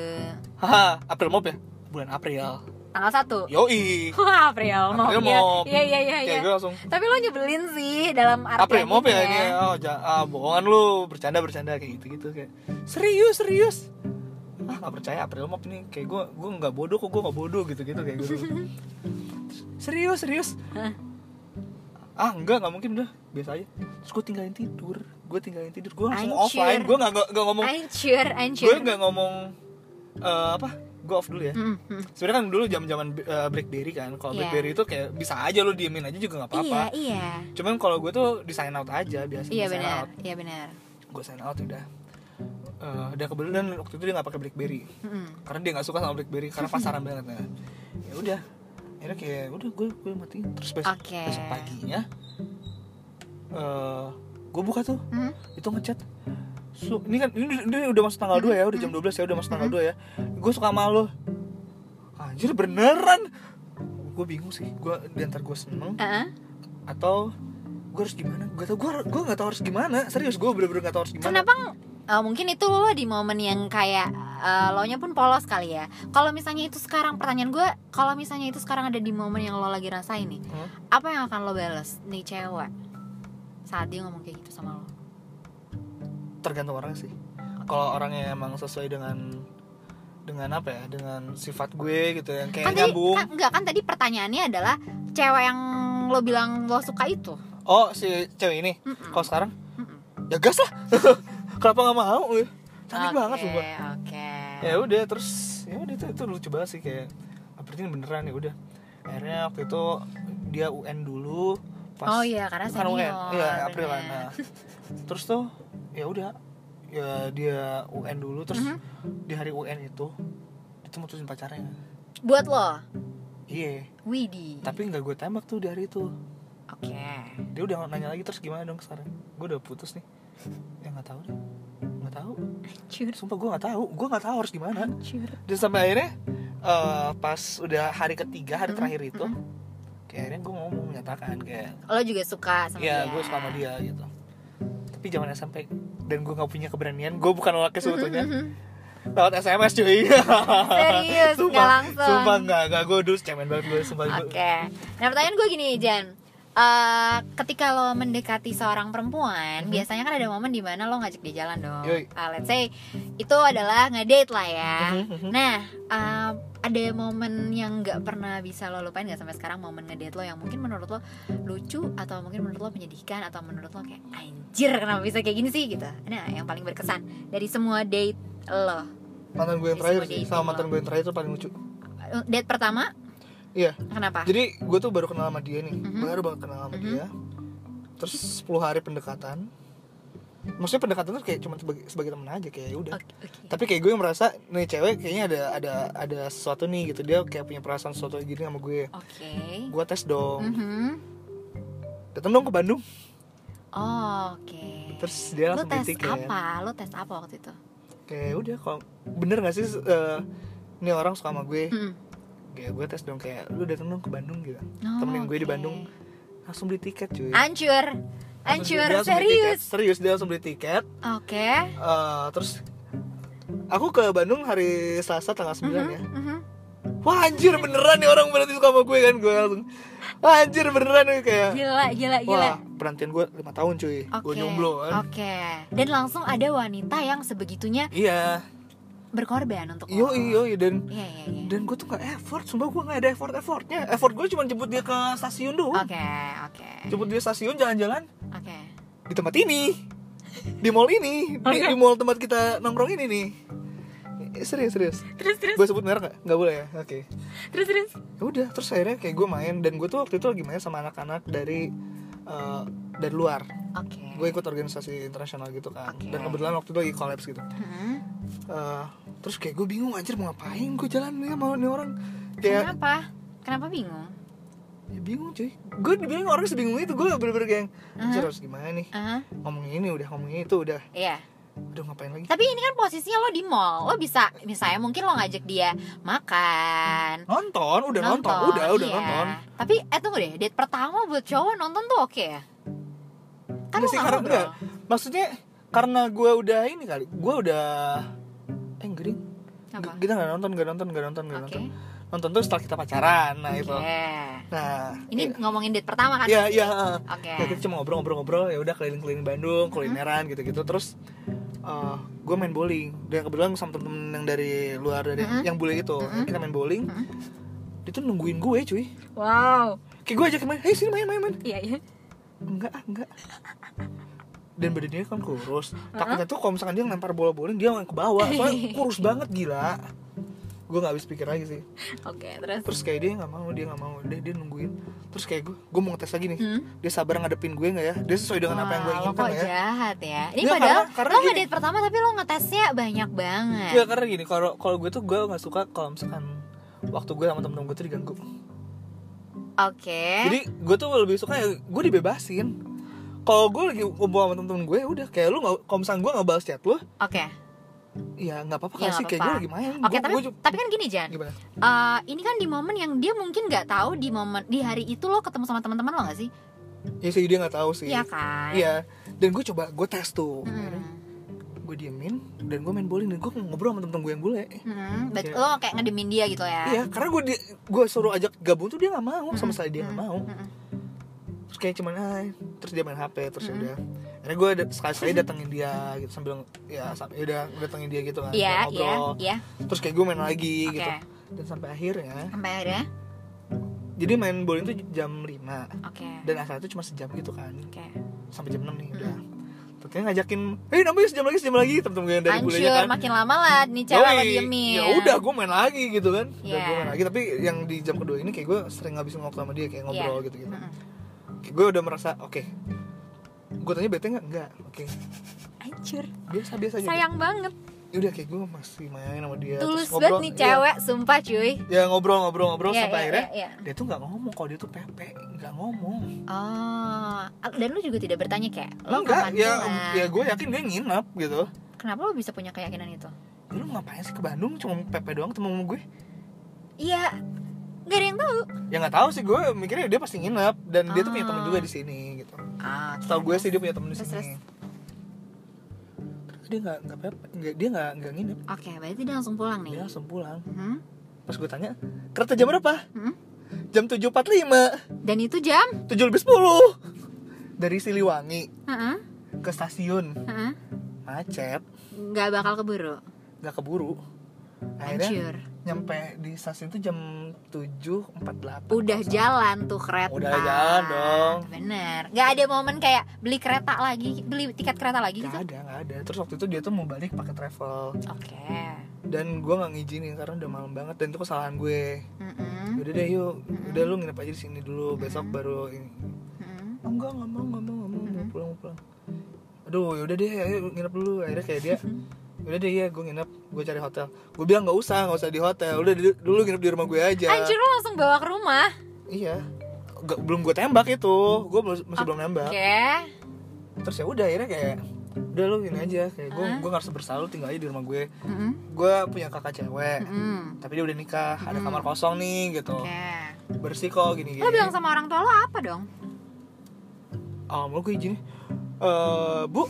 haha April Mop ya bulan April
Tanggal satu.
yoi
Wah, April mau.
April
Iya
Mop
iya iya iya.
Iya. kayak gue langsung
Tapi lo nyebelin sih dalam arti
April Mop ya kayak oh ja- ah, bohongan lu bercanda bercanda kayak gitu gitu kayak serius serius ah nggak percaya April Mop nih kayak gue gue nggak bodoh kok gue nggak bodoh gitu gitu kayak gitu serius serius
Hah?
ah enggak nggak mungkin udah biasa aja terus gue tinggalin tidur gue tinggalin tidur gue langsung
Anjir.
offline gue nggak nggak- nggak ngomong
Ancur, ancur. Mhm,
gue nggak ngomong eh, apa gue off dulu ya
Mm, mm.
sebenarnya kan dulu zaman zaman BlackBerry kan kalau
Iya.
BlackBerry itu kayak bisa aja lo diemin aja juga nggak apa-apa
Iya, iya.
cuman kalau gue tuh di sign out aja biasanya
Iya
di sign
benar,
out
iya benar.
gue sign out udah Eh, udah kebetulan waktu itu dia nggak pakai blackberry
Mm-mm.
karena dia nggak suka sama blackberry karena pasaran banget nah. ya udah akhirnya kayak udah gue gue matiin terus besok,
Oke.
besok paginya eh gue buka tuh
Mm.
itu ngechat Su- ini kan ini, ini udah masuk tanggal 2 ya udah jam 12 ya udah masuk
Mm-hmm.
tanggal 2 ya gue suka sama lo anjir beneran gue bingung sih gue diantar gue seneng
Ah,
atau gue harus gimana gue tau gue gue nggak tahu harus gimana serius gue bener-bener nggak tahu harus gimana
Kenapa ng- eh, mungkin itu lo di momen yang kayak eh, lo nya pun polos kali ya. Kalau misalnya itu sekarang pertanyaan gue, kalau misalnya itu sekarang ada di momen yang lo lagi rasain nih,
Hmm.
apa yang akan lo balas nih cewek saat dia ngomong kayak gitu sama lo?
tergantung orang sih kalau orangnya emang sesuai dengan dengan apa ya dengan sifat gue gitu yang kayak
kan tadi
nyambung
kan, enggak kan tadi pertanyaannya adalah cewek yang lo bilang lo suka itu.
oh si cewek ini
Mm-mm.
kalau sekarang
Mm-mm.
ya gas lah kenapa nggak mau ya cantik
Oke,
banget sumpah
Oke.
ya udah terus ya udah itu, itu lucu banget sih kayak ah, berarti ini beneran ya udah akhirnya waktu itu dia UN dulu pas
Oh iya, karena
kan
senior.
UN iya April
bener.
nah. terus tuh ya udah ya dia UN dulu terus
Mhm.
di hari UN itu itu mutusin pacarnya
Buat lo,
iya
Widi. Oke.
tapi nggak gue tembak tuh di hari itu dia udah nanya lagi terus gimana dong sekarang gue udah putus nih ya nggak tahu deh nggak tahu
Hancur,
sumpah gue nggak tahu gue nggak tahu harus gimana
hancur.
dan sampai akhirnya eh, pas udah hari ketiga hari
Mhm,
terakhir itu kayak akhirnya gue ngomong menyatakan kayak
Lo juga suka Mm-hmm. sama
ya
dia.
gue suka sama dia gitu tapi zaman SMP dan gue nggak punya keberanian gue bukan lelaki
Mm-hmm,
sebetulnya lewat SMS cuy
Serius,
Sumpah,
nggak langsung.
sumpah nggak nggak gue dulu cemen banget gue sumpah
Oke.
gue-
Nah pertanyaan gue gini Jan. Eh, ketika lo mendekati seorang perempuan,
Mhm.
biasanya kan ada momen di mana lo ngajak dia jalan dong.
Yoi.
Ah, let's say itu adalah ngedate lah ya.
Mhm, mhm.
Nah, eh, ada momen yang nggak pernah bisa lo lupain nggak sampai sekarang momen ngedate lo yang mungkin menurut lo lucu atau mungkin menurut lo menyedihkan atau menurut lo kayak anjir kenapa bisa kayak gini sih gitu. Nah, yang paling berkesan dari semua date lo.
mantan gue yang
Di
terakhir
semua
sih
dating
sama mantan
lo.
gue yang terakhir itu paling lucu
Date pertama
iya
kenapa?
jadi gue tuh baru kenal sama dia nih
Mhm.
baru banget kenal sama
Mhm.
dia terus 10 hari pendekatan maksudnya pendekatan tuh kayak cuma sebagai, sebagai temen aja kayak ya udah
Oke. oke.
tapi kayak gue merasa nih cewek kayaknya ada ada ada sesuatu nih gitu dia kayak punya perasaan sesuatu gini sama gue
Oke.
gue tes dong
Mhm.
datang dong ke Bandung
Oh, Oke.
Terus dia
Lo
langsung ya.
tes
betikin.
apa? Lo tes apa waktu itu?
kayak ya udah kalau bener gak sih eh, nih orang suka sama gue
Mm.
kayak gue tes dong kayak lu datang dong ke Bandung gitu
Oh,
temenin gue di
oke.
Bandung langsung beli tiket cuy
Ancur,
Langsung- dia
ancur,
langsung ya. beli tiket.
serius.
serius dia langsung beli tiket
Oke.
Eh, terus aku ke Bandung hari Selasa tanggal 9 ya
Mhm, mhm.
wah anjir beneran nih orang berarti suka sama gue kan gue langsung wah, anjir beneran nih kayak
Gila, gila, gila.
wah penantian gue lima tahun cuy
Iya, Oke.
gue jomblo kan
Oke. Dan langsung ada wanita yang sebegitunya
iya
berkorban untuk lo.
yo yoi dan
Iya, iya, iya.
dan gue tuh gak effort sumpah gue gak ada effort effortnya effort gue cuma jemput dia ke stasiun doang
Oke, oke,
jemput dia stasiun jalan-jalan
oke.
di tempat ini di mall ini di, di mall tempat kita nongkrong ini nih Eh, serius serius
Terus, terus,
gue sebut merek gak? Gak boleh ya? Oke
terus, terus.
ya udah terus akhirnya kayak gue main dan gue tuh waktu itu lagi main sama anak-anak dari eh, dari luar
Oke.
gue ikut organisasi internasional gitu kan
Oke.
dan kebetulan waktu itu lagi collabs gitu
Mhm.
Eh, terus kayak gue bingung anjir mau ngapain gue jalan nih sama nih orang kayak
Kenapa? Kenapa bingung?
ya bingung cuy gue dibilang orang sebingung itu gue bener-bener kayak yang anjir
Aha.
harus gimana nih
Aha,
ngomongin ini udah ngomongin itu udah
Uh-huh. Iya.
udah ngapain lagi
Tapi ini kan posisinya lo di mall. Lo bisa misalnya mungkin lo ngajak dia makan.
nonton udah nonton, udah udah
iya.
nonton
Tapi eh tunggu deh, date pertama buat cowok nonton tuh oke ya? Kan
Nggak
lo
sih,
nggak
karena-
ngobrol.
nggak. maksudnya karena gue udah ini kali gue udah eh gering
Apa?
kita nggak nonton nggak nonton nggak nonton nggak
Oke.
nonton nonton terus setelah kita pacaran nah itu
Oke.
nah
Ini ngomongin date pertama kan?
ya ya
Oke.
Ya, kita cuma ngobrol-ngobrol-ngobrol ya udah keliling-keliling Bandung, kulineran gitu-gitu. Terus eh gue main bowling. Dan kebetulan sama temen-temen yang dari luar dari
Mhm.
yang bule itu,
Mhm.
kita main bowling.
Mhm.
Dia tuh nungguin gue, cuy.
Wow.
Kayak gue ajakin main, "Hei, sini main, main, main."
Iya iya.
Enggak, ah, enggak. Dan badannya kan kurus. Takutnya tuh kalau misalkan dia ngelempar bola bowling, dia yang ke bawah. Soalnya kurus banget gila. Gue gak habis pikir lagi sih.
Oke, terus.
Terus kayak dia nggak mau, dia nggak mau, dia dia nungguin. Terus kayak gue, gue mau ngetes lagi nih.
Hmm?
Dia sabar ngadepin gue nggak ya? Dia sesuai dengan apa yang gue
Wah,
inginkan
lo
nggak
kok
ya?
jahat ya. Ini
Nggak,
padahal
karena- karena
lo nggak
gini.
date pertama tapi lo ngetesnya banyak banget.
Ya karena gini, kalau kalau gue tuh gue nggak suka kalau misalkan waktu gue sama temen-temen gue tuh diganggu.
Oke.
Jadi gue tuh lebih suka ya gue dibebasin. Kalau gue lagi ngobrol sama temen-temen gue, udah kayak lu nggak, kalau misalkan gue nggak balas chat lu,
Oke.
ya nggak apa-apa
Ya,
kali
nggak
sih. Kayak gue
apa-apa.
lagi main.
Oke,
Gua-
tapi
gua ju-
tapi kan gini Jan.
gimana?
Eh, ini kan di momen yang dia mungkin nggak tahu di momen di hari itu lo ketemu sama teman-teman lo nggak sih?
Ya sih dia nggak tahu sih.
Iya kan?
Iya. Dan gue coba gue tes tuh.
Hmm.
Gue diemin dan gue main bowling dan gue ngobrol sama temen-temen gue yang bule.
Hmm. Bet-
Iya.
Lo kayak ngedemin dia gitu ya?
Iya, karena gue di- gue suruh ajak gabung tuh dia nggak mau, sama
Mm-mm.
sekali dia nggak
Mm-mm.
mau.
Mm-mm.
terus kayak cuman "Hai." terus dia main HP terus ya
Mm-mm.
udah akhirnya gue sekali sekali datengin dia gitu sambil ya sam- ya udah datengin dia gitu kan
Iya,
sambil
iya, iya.
terus kayak gue main lagi
Oke.
gitu dan sampai akhirnya
Sampai akhirnya?
jadi main bowling tuh jam 5
Oke.
dan asalnya tuh cuma sejam gitu kan
Oke.
sampai jam 6 nih udah
Hmm.
terus ngajakin eh namanya sejam lagi sejam lagi temen-temen gue yang dari bulenya
Hancur,
kan
makin lama lah nih cewek lo
Yoi,
diemin.
ya udah gue main lagi gitu kan udah
Iya.
gue main lagi tapi yang di jam kedua ini kayak gue sering ngabisin waktu sama dia kayak ngobrol
Iya.
gitu gitu
Mm-mm.
Kayak gue udah merasa oke gue tanya bete nggak enggak oke
Hancur.
biasa biasa aja
Sayang banget.
ya udah kayak gue masih main sama dia
Tulus
terus
banget
ngobrol
nih
iya.
cewek, sumpah cuy.
ya ngobrol ngobrol ngobrol
Iya,
sampai
iya,
akhirnya
iya, iya.
dia tuh nggak ngomong kalau dia tuh pepe nggak ngomong
Oh, dan lu juga tidak bertanya kayak lo
enggak
kapan
ya
pulang?
ya gue yakin dia nginep gitu
Kenapa lo bisa punya keyakinan itu?
Ya, lu ngapain sih ke Bandung cuma pepe doang ketemu sama gue
Iya, nggak ada yang tahu.
ya nggak tahu sih gue mikirnya dia pasti nginep dan dia tuh punya
Ah.
temen juga di sini gitu
Ah,
Setahu gue sih dia punya temen di
Terus,
sini Ternyata dia nggak nggak pepe nggak dia nggak nggak nginep
Oke, berarti dia langsung pulang
dia
nih.
langsung pulang
Mhm,
pas gue tanya kereta jam berapa
mhm.
jam tujuh empat lima
Dan itu jam?
tujuh lebih sepuluh dari Siliwangi
Heeh,
ke stasiun
heeh.
macet
Nggak bakal keburu.
nggak keburu akhirnya
Hancur.
nyampe di stasiun tuh jam 7.48
Udah jalan tuh kereta.
Udah jalan dong.
Bener. Nggak ada momen kayak beli kereta lagi, beli tiket kereta lagi
Gak
gitu.
ada, gak ada Terus waktu itu dia tuh mau balik pakai travel
Oke.
Dan gue gak ngizinin karena udah malam banget Dan itu kesalahan gue
Mhm,
Udah deh yuk, udah lu nginep aja di sini dulu Besok baru ini
mhm.
oh, Enggak, gak mau, gak mau, gak mau, mau pulang, mau pulang Aduh yaudah deh, ayo nginep dulu Akhirnya kayak dia Udah deh ya, gue nginep, gue cari hotel Gue bilang gak usah, gak usah di hotel Udah di- dulu nginep di rumah gue aja
Hancur lo langsung bawa ke rumah.
Iya. Nggak- belum gue tembak itu. Gue belum masih belum
Ah,
nembak.
Oke.
Iya. Terus ya udah akhirnya kayak udah lu gini aja kayak gue
Hah?
gue harus bersalut tinggal aja di rumah gue.
Mhm,
Gue punya kakak cewek.
mhm.
Tapi dia udah nikah, ada kamar kosong nih gitu.
Oke.
Bersih kok
Lo
gini-gini.
bilang sama orang tua lo apa dong?
Oh, mau gue izin. Eh, Bu,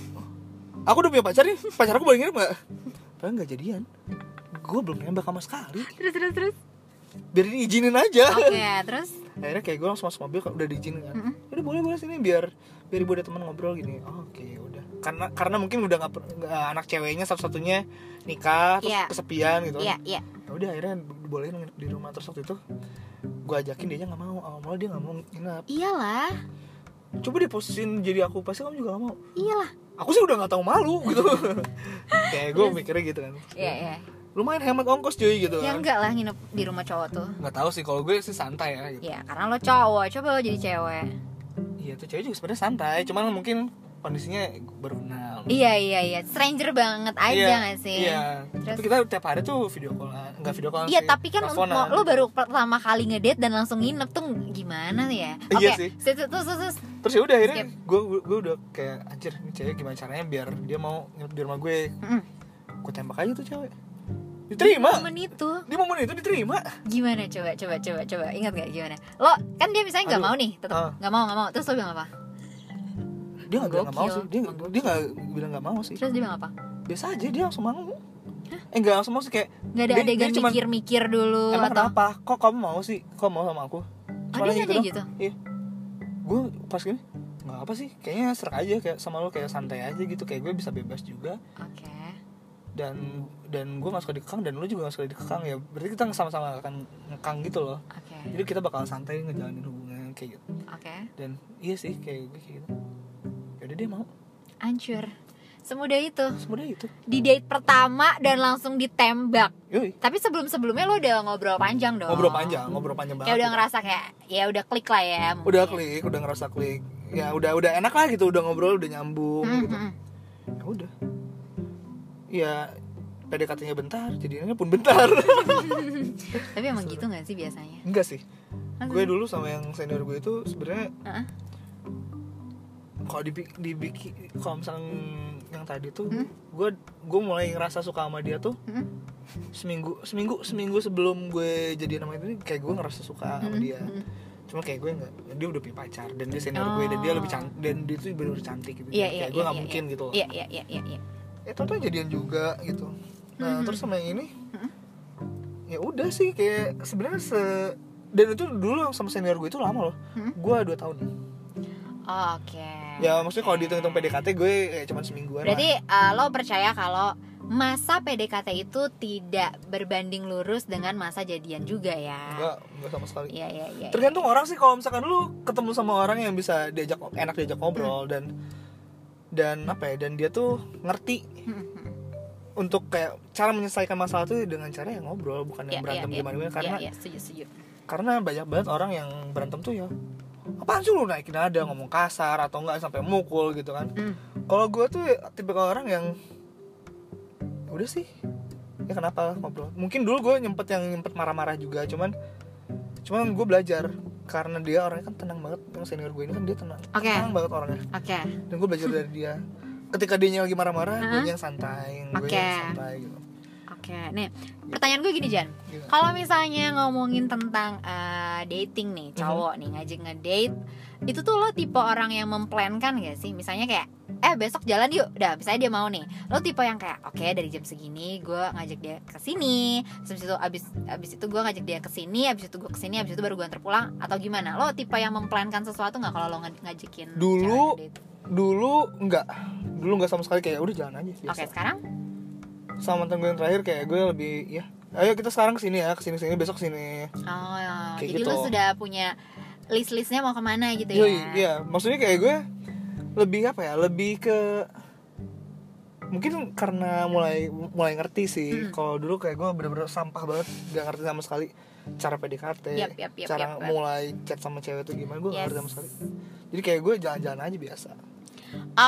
aku udah punya pacar nih. Pacar aku boleh nginep enggak? Padahal nggak jadian. Gue belum nembak sama sekali.
Terus terus terus.
Biarin izinin aja.
Oke, terus
akhirnya kayak gue langsung masuk mobil udah diizinin kan
Mm-mm.
udah boleh boleh sini biar biar ibu ada teman ngobrol gini Oh, oke udah karena karena mungkin udah nggak per- nggak- anak ceweknya satu satunya nikah terus
Iya.
kesepian gitu
iya iya.
Ya udah akhirnya dibolehin nginep di rumah terus waktu itu gue ajakin dia nggak mau awal awal dia nggak mau nginep
Iyalah,
coba dia posisiin jadi aku pasti kamu juga nggak mau
iyalah.
aku sih udah nggak tahu malu gitu kayak gue mikirnya gitu kan
Iya iya.
lumayan hemat ongkos cuy gitu
Ya
kan
enggak lah nginep di rumah cowok tuh. Iya,
nggak tahu sih kalau gue sih santai ya gitu
Ya, karena lo cowok, coba lo jadi cewek.
Iya tuh cewek juga sebenarnya santai, cuman mungkin kondisinya baru kenal
Iya iya iya, stranger banget aja nggak sih?
iya
Terus-
tapi kita tiap hari tuh video callan nggak video callan
Iya
sih,
tapi kan untuk
teleponan.
lo baru pertama kali ngedate dan langsung nginep tuh gimana ya? Oke,
Iya sih.
situ- terus, terus, terus.
terus ya udah akhirnya
Skip.
gue gue udah kayak anjir ini cewek gimana caranya biar dia mau nginep di rumah gue
Mm.
gue tembak aja tuh cewek diterima
Momen itu
di momen itu diterima
gimana coba coba coba coba ingat gak gimana? Lo kan dia misalnya nggak
Aduh.
mau nih, tetap
Ah.
nggak mau nggak mau. Terus lo bilang apa?
dia nggak bilang nggak mau
Gokil.
sih dia dia nggak bilang nggak mau sih
Terus dia bilang apa?
biasa aja dia langsung mau eh nggak langsung mau sih kayak
Nggak ada
Dia- dia
adegan
cuman-
mikir-mikir dulu
emang
atau?
kenapa kok kamu mau sih kok mau sama aku
Ada
Cuma lagi
aja
doang.
gitu.
iya gue pas gini nggak apa sih kayaknya serak aja kayak sama lo kayak santai aja gitu kayak gue bisa bebas juga
Oke.
dan dan gue gak suka dikekang dan lo juga gak suka dikekang ya berarti kita sama-sama gak akan ngekang gitu loh
Oke.
jadi kita bakal santai ngejalanin hubungan kayak gitu
Oke.
dan iya sih kayak gue kayak gitu yaudah dia mau
Hancur. Semudah itu.
semudah itu
Di date pertama dan langsung ditembak.
yoi
Tapi sebelum-sebelumnya lo udah ngobrol panjang dong.
ngobrol panjang ngobrol panjang banget gitu.
Kayak udah ngerasa kayak ya udah klik lah ya. mungkin.
udah klik udah ngerasa klik ya udah udah enak lah gitu udah ngobrol udah nyambung
Hmm,
gitu
hmm.
ya udah ya PDKT-nya bentar jadinya pun bentar
Tapi emang gitu gak sih biasanya?
enggak sih
Masa
gue
sih?
dulu sama yang senior gue itu sebenarnya
Heeh.
kalau dipik dibiki kalau misalnya yang tadi tuh
Hmm?
gue gue mulai ngerasa suka sama dia tuh
Hmm?
seminggu seminggu seminggu sebelum gue jadi nama itu kayak gue ngerasa suka
Hmm,
sama dia
hmm.
cuma kayak gue nggak dia udah punya pacar dan dia senior gue dan dia
Oh.
lebih cantik dan dia tuh bener-bener cantik gitu
Iya,
kayak
iya,
gue
iya,
nggak
iya,
mungkin gitu loh
Iya iya iya iya. iya.
eh tau-tau jadian juga gitu
Mhm.
nah terus sama yang ini
Mhm.
ya udah sih kayak sebenarnya se dan itu dulu sama senior gue itu lama loh
Mhm.
gue dua tahun
Oke.
ya maksudnya kalau
Oke.
dihitung-hitung PDKT gue kayak cuma semingguan lah.
Berarti eh, lo percaya kalau masa PDKT itu tidak berbanding lurus dengan masa jadian juga ya?
enggak enggak sama sekali
Iya iya iya.
tergantung orang sih kalau misalkan lu ketemu sama orang yang bisa diajak enak diajak ngobrol dan dan apa ya dan dia tuh ngerti
Hmm, hmm.
untuk kayak cara menyelesaikan masalah tuh dengan cara yang ngobrol bukan
Iya,
yang
iya,
berantem
iya.
gimana gimana karena
Iya iya setuju setuju.
karena banyak banget orang yang berantem tuh ya apaan sih lu naikin nada ngomong kasar atau enggak sampai mukul gitu kan
Hmm.
kalau gue tuh tipe orang yang udah sih ya kenapa ngobrol mungkin dulu gue nyempet yang nyempet marah-marah juga cuman cuman gue belajar karena dia orangnya kan tenang banget yang senior gue ini kan dia tenang
Oke.
tenang banget orangnya
Oke.
dan gue belajar dari dia ketika dia lagi marah-marah
Hah?
gue yang santai gue
Uh-huh. Oke.
yang santai gitu Iya.
Oke, nih pertanyaan gue gini Jan,
Gimana?
kalau misalnya ngomongin tentang eh, dating
Mhm.
nih, cowok nih ngajak ngedate, itu tuh lo tipe orang yang memplankan gak sih? Misalnya kayak, eh besok jalan yuk, udah misalnya dia mau nih, lo tipe yang kayak, oke dari jam segini gue ngajak dia ke sini, terus abis itu abis abis itu gue ngajak dia ke sini, abis itu gue ke sini, abis itu baru gue antar pulang, atau gimana? Lo tipe yang memplankan sesuatu nggak kalau lo nge- ngajakin cewek
Dulu-
ngedate?
dulu enggak dulu enggak sama sekali kayak udah jalan aja
Oke
biasa
sekarang?
sama mantan gue yang terakhir kayak gue lebih ya ayo kita sekarang kesini ya kesini sini besok kesini
Oh,
Kayak
jadi
gitu.
lo sudah punya list-listnya mau kemana gitu ya?
Yoi, iya maksudnya kayak gue lebih apa ya lebih ke mungkin karena mulai mulai ngerti sih
Hmm.
kalau dulu kayak gue bener-bener sampah banget gak ngerti sama sekali cara PDKT
Yap, yap, yap,
cara
yap, yap.
mulai chat sama cewek tuh gimana gue nggak
Yes.
ngerti sama sekali jadi kayak gue jalan-jalan aja biasa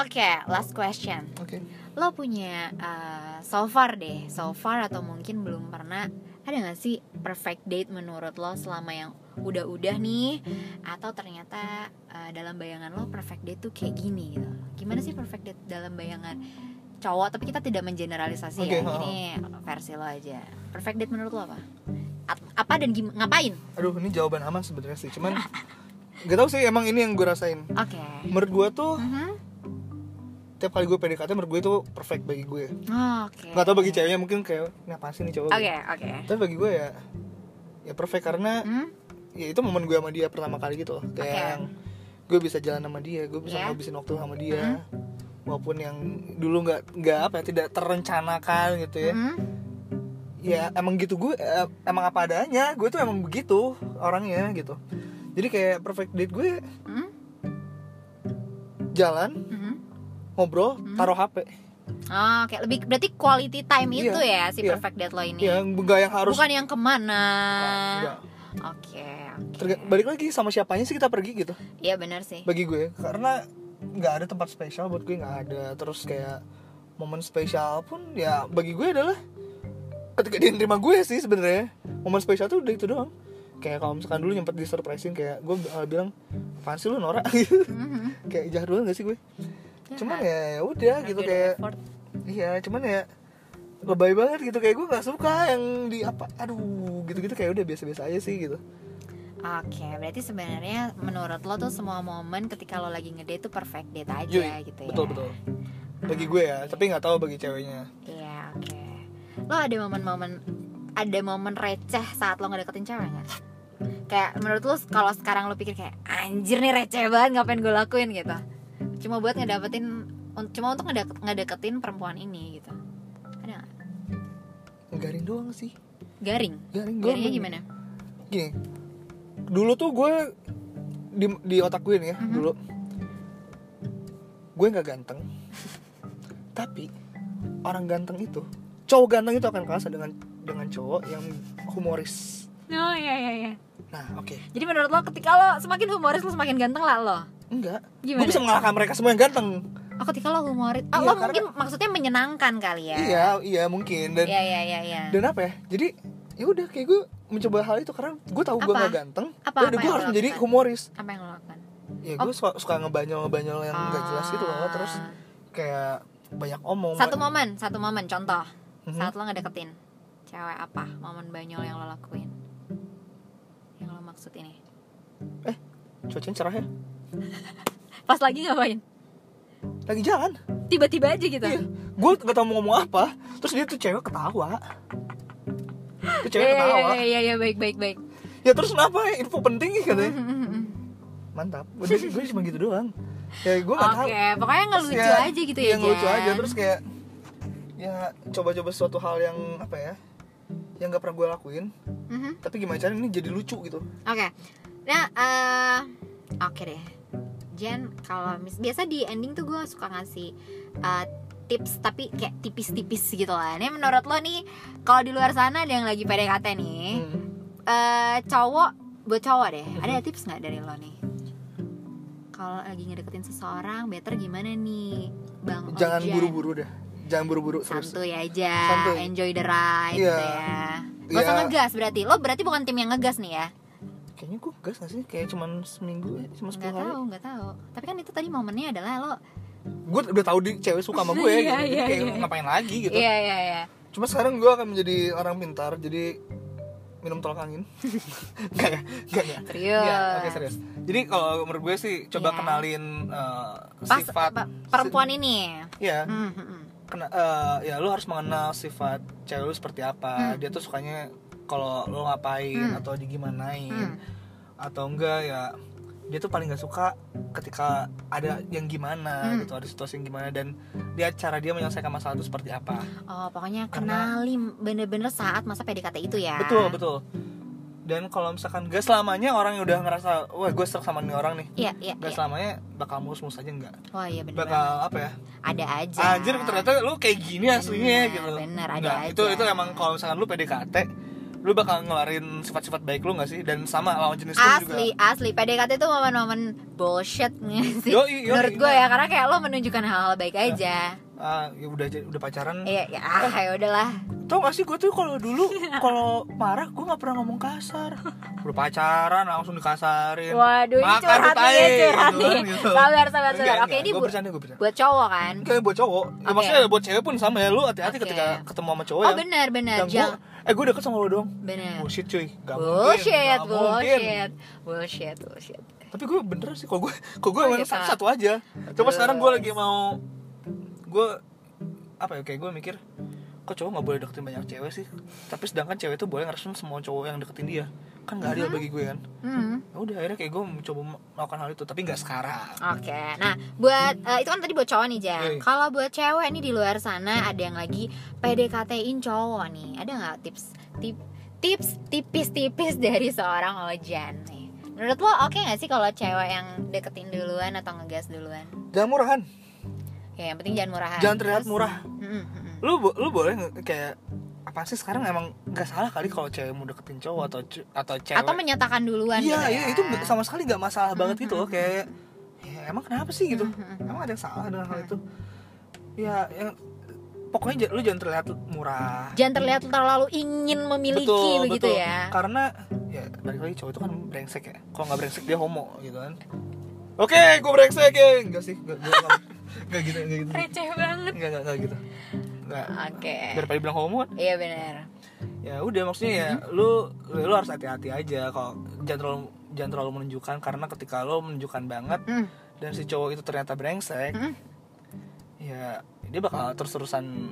Oke, last question.
oke
Lo punya uh, so far deh, so far atau mungkin belum pernah ada gak sih perfect date menurut lo selama yang udah-udah nih atau ternyata uh, dalam bayangan lo perfect date tuh kayak gini gitu. Gimana sih perfect date dalam bayangan cowok tapi kita tidak mengeneralisasi ya.
Oke, ha-ha.
Ini versi lo aja. Perfect date menurut lo apa? Ap- apa dan gim- ngapain?
aduh ini jawaban aman sebenarnya sih cuman gak tau sih emang ini yang gue rasain
Oke.
menurut gue tuh
Mhm.
tiap kali gue PDKT menurut gue itu perfect bagi gue
Oke.
nggak tau bagi ceweknya mungkin kayak ini apa sih nih cowok
Oke, oke.
tapi bagi gue ya ya perfect karena
Hmm?
ya itu momen gue sama dia pertama kali gitu loh kayak
Oke.
yang gue bisa jalan sama dia gue bisa
Iya. Mm-hmm.
ngabisin waktu sama dia walaupun yang dulu nggak nggak apa ya tidak terencanakan gitu ya
Mhm.
ya emang gitu gue eh, emang apa adanya gue tuh emang begitu orangnya gitu jadi kayak perfect date gue
Mhm.
jalan
Mhm.
ngobrol
Hmm.
taruh hp
Oh, oke lebih berarti quality time
Iya,
itu ya si
iya.
perfect date lo ini.
ya nggak yang harus
Bukan yang kemana.
Ah, nggak.
Oke, oke.
Terga- balik lagi sama siapanya sih kita pergi gitu
Iya benar sih.
bagi gue karena nggak ada tempat spesial buat gue nggak ada terus kayak momen spesial pun ya bagi gue adalah ketika dia nerima gue sih sebenarnya momen spesial tuh udah itu doang kayak kalau misalkan dulu nyempet di surprisein kayak gue eh, bilang apaan sih lu Nora Gitu.
Mhm.
kayak jahdulan gak sih gue
Ya,
cuman
karena
ya ya udah
dia
gitu
udah
kayak
effort.
iya cuman ya lebay banget gitu kayak gue nggak suka yang di apa aduh gitu gitu kayak udah biasa biasa aja sih gitu
Oke, berarti sebenarnya menurut lo tuh semua momen ketika lo lagi ngedate tuh perfect date aja
Yoi,
gitu ya.
Iya, betul betul bagi gue ya tapi nggak tahu bagi ceweknya
Iya, oke. Lo ada momen-momen ada momen receh saat lo ngedeketin cewek nggak? Kayak menurut lo kalau sekarang lo pikir kayak anjir nih receh banget ngapain gue lakuin gitu. Cuma buat ngedapetin un- cuma untuk ngedeket, ngedeketin perempuan ini gitu. Ada nggak?
garing doang sih
Garing.
garing doang
Garingnya gimana?
gini dulu tuh gue di di otak gue nih ya
Mhm.
dulu gue nggak ganteng tapi orang ganteng itu cowok ganteng itu akan kalah dengan dengan cowok yang humoris
Oh iya iya iya.
nah oke
Jadi menurut lo ketika lo semakin humoris lo semakin ganteng lah lo.
enggak
Gimana?
gue bisa mengalahkan mereka semua yang ganteng
Oh ketika lo humoris, ah,
Iya,
lo
karena-
mungkin maksudnya menyenangkan kali ya?
iya iya mungkin dan
Iya iya iya. iya.
dan apa ya jadi ya udah kayak gue mencoba hal itu karena gue tahu gue
Apa?
nggak ganteng
Apa,
ya
apa
udah gue
yang
harus
lo
menjadi
lakukan?
humoris
Apa yang lo lakukan?
ya gue suka, suka ngebanyol ngebanyol yang nggak jelas gitu loh terus
Ah.
kayak banyak omong
Satu momen, satu momen contoh
Mhm.
saat lo ngedeketin cewek apa momen banyol yang lo lakuin? Yang lo maksud ini?
cuacanya cerah ya
Pas lagi ngapain?
lagi jalan
Tiba-tiba aja gitu.
iya gue gak tau mau ngomong apa terus dia tuh cewek ketawa tuh cewek
Iya, iya,
ketawa
iya, iya, iya, baik, baik, baik.
ya terus kenapa ya? info penting ya
Mhm.
katanya
Oke,
mantap udah gue cuma gitu doang ya gue gak tahu
pokoknya
Terus
ngelucu
ya,
aja gitu
iya,
ya.
ngelucu
Jan.
aja terus kayak ya coba-coba suatu hal yang apa ya yang gak pernah gue lakuin
Mhm.
tapi gimana caranya ini jadi lucu gitu
Oke. Nah, eh oke deh. Jen, kalau mis biasa di ending tuh gue suka ngasih eh, tips tapi kayak tipis-tipis gitu lah. Ini menurut lo nih, kalau di luar sana ada yang lagi PDKT nih, eh
Hmm.
cowok buat cowok deh. Ada tips nggak dari lo nih? Kalau lagi ngedeketin seseorang, better gimana nih, Bang?
jangan
Ojen?
buru-buru dah jangan buru-buru terus
Oh, Santuy aja,
Santuy.
enjoy the ride
Iya.
gitu ya. Gak usah
Iya.
ngegas berarti. Lo berarti bukan tim yang ngegas nih ya?
kayaknya gue gas gak sih kayak cuman seminggu ya cuma
nggak
sepuluh hari
tahu nggak tahu tapi kan itu tadi momennya adalah lo
gue udah tahu di cewek suka sama gue
Iya,
gitu. Jadi
iya,
kayak
iya.
ngapain lagi gitu
iya iya iya
cuma sekarang gue akan menjadi orang pintar jadi minum tolak angin gak ya gak ya
serius
Iya, oke serius jadi kalau menurut gue sih coba
Iya.
kenalin eh,
pas
sifat
pa- perempuan ini
si- ya
Hmm, hmm, hmm.
kena eh, ya lu harus mengenal sifat cewek lu seperti
Hmm.
apa dia tuh sukanya kalau lu ngapain
Hmm.
atau digimanain
Hmm.
atau enggak ya dia tuh paling gak suka ketika ada yang gimana
Hmm.
gitu ada situasi yang gimana dan dia cara dia menyelesaikan masalah itu seperti apa
oh pokoknya
Karena-
kenalin bener-bener saat masa PDKT itu ya
betul betul dan kalau misalkan gak selamanya orang yang udah ngerasa wah gue serak sama nih orang nih
iya iya iya.
gak selamanya bakal mulus-mulus aja enggak
wah iya bener banget.
bakal apa ya
ada aja
anjir ternyata lu kayak gini aslinya
Bener,
gitu
Iya, bener, ada
Nggak, itu
aja.
itu emang kalau misalkan lu PDKT lu bakal ngeluarin sifat-sifat baik lu gak sih dan sama lawan jenis lu juga
asli asli PDKT itu momen-momen bullshit nggak sih
Yoi, Iya. yoi,
menurut gue ya
iya.
karena kayak lo menunjukkan hal-hal baik aja
Ah, ya udah aja- udah pacaran
iya ya ah ya udahlah
tau gak sih gue tuh kalau dulu kalau marah gue nggak pernah ngomong kasar udah pacaran langsung dikasarin
waduh ini
Makan
curhat nih
lu tai,
ya, curhat
gitu
nih
kan, gitu.
sabar sabar sabar
Enggak,
oke ini
gue
bu-
bercanda gue bercanda
buat cowok kan
kayak buat cowok Ya,
Oke.
maksudnya buat cewek pun sama ya lu hati-hati
Oke.
ketika ketemu sama cowok
Oh
yang
benar benar
yang gua-
jangan
eh gue deket sama lu doang
benar.
bullshit cuy gak
Bullshit,
mungkin, gak mungkin.
bullshit, bullshit, bullshit.
tapi gue bener sih kok gue kok gue
Oh,
main
iya, Kak.
satu, satu aja coba
Terus.
sekarang gue lagi mau gue apa ya kayak gue mikir kok cowok nggak boleh deketin banyak cewek sih tapi sedangkan cewek tuh boleh ngeresin semua cowok yang deketin dia kan nggak adil bagi gue kan
Hmm,
Ya udah akhirnya kayak gue mencoba melakukan hal itu tapi nggak sekarang
oke. Nah, buat eh, itu kan tadi buat cowok nih, Jan.
Yoi.
Kalau buat cewek nih di luar sana ada yang lagi PDKT-in cowok nih. Ada nggak tips tip, tips tipis-tipis dari seorang Ojan nih? Menurut lo oke nggak sih kalau cewek yang deketin duluan atau ngegas duluan?
jangan murahan
Ya, yang penting jangan murahan.
jangan terlihat
Terus-
murah
Mm, mm, mm.
lu bo- lu boleh nge- kayak apa sih sekarang emang nggak salah kali kalau cewek mau deketin cowok atau ce- atau cewek
Atau menyatakan duluan
iya
gitu
iya
ya.
itu nggak- sama sekali nggak masalah banget gitu loh kayak ya ya emang kenapa sih gitu emang ada yang salah dengan hal itu ya yang pokoknya j- lu jangan terlihat murah
Jangan terlihat terlalu ingin memiliki begitu
betul.
ya.
karena ya balik lagi cowok itu kan brengsek ya kalau nggak brengsek dia homo gitu kan oke gue brengsek ya enggak sih gue nggak gitu nggak gitu
Receh banget.
nggak nggak nggak gitu nggak
Oke.
daripada bilang homo kan
Iya benar.
ya udah maksudnya ya lu lu harus hati-hati aja kalau jangan terlalu jangan terlalu menunjukkan karena ketika lo menunjukkan banget
Hmm.
dan si cowok itu ternyata brengsek
Mm.
ya dia bakal terus-terusan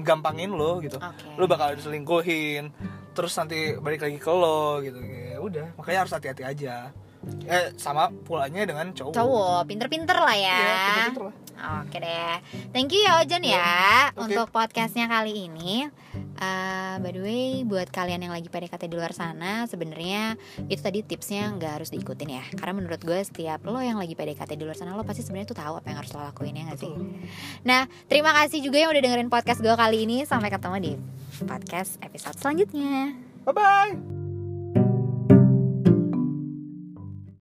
gampangin lo gitu
Oke.
lo bakal diselingkuhin terus nanti balik lagi ke lo gitu ya udah makanya harus hati-hati aja eh sama pulanya dengan cowok
Cowok, pinter-pinter lah ya.
ya, Oh. pinter-pinter lah. Iya.
Oke deh, thank you ya Ojan ya
Oke.
untuk podcastnya kali ini. Eh, by the way, buat kalian yang lagi PDKT di luar sana, sebenarnya itu tadi tipsnya nggak harus diikutin ya. Karena menurut gue setiap lo yang lagi PDKT di luar sana, lo pasti sebenarnya tuh tahu apa yang harus lo lakuin ya nggak sih.
Betul.
Nah, terima kasih juga yang udah dengerin podcast gue kali ini. Sampai ketemu di podcast episode selanjutnya.
bye bye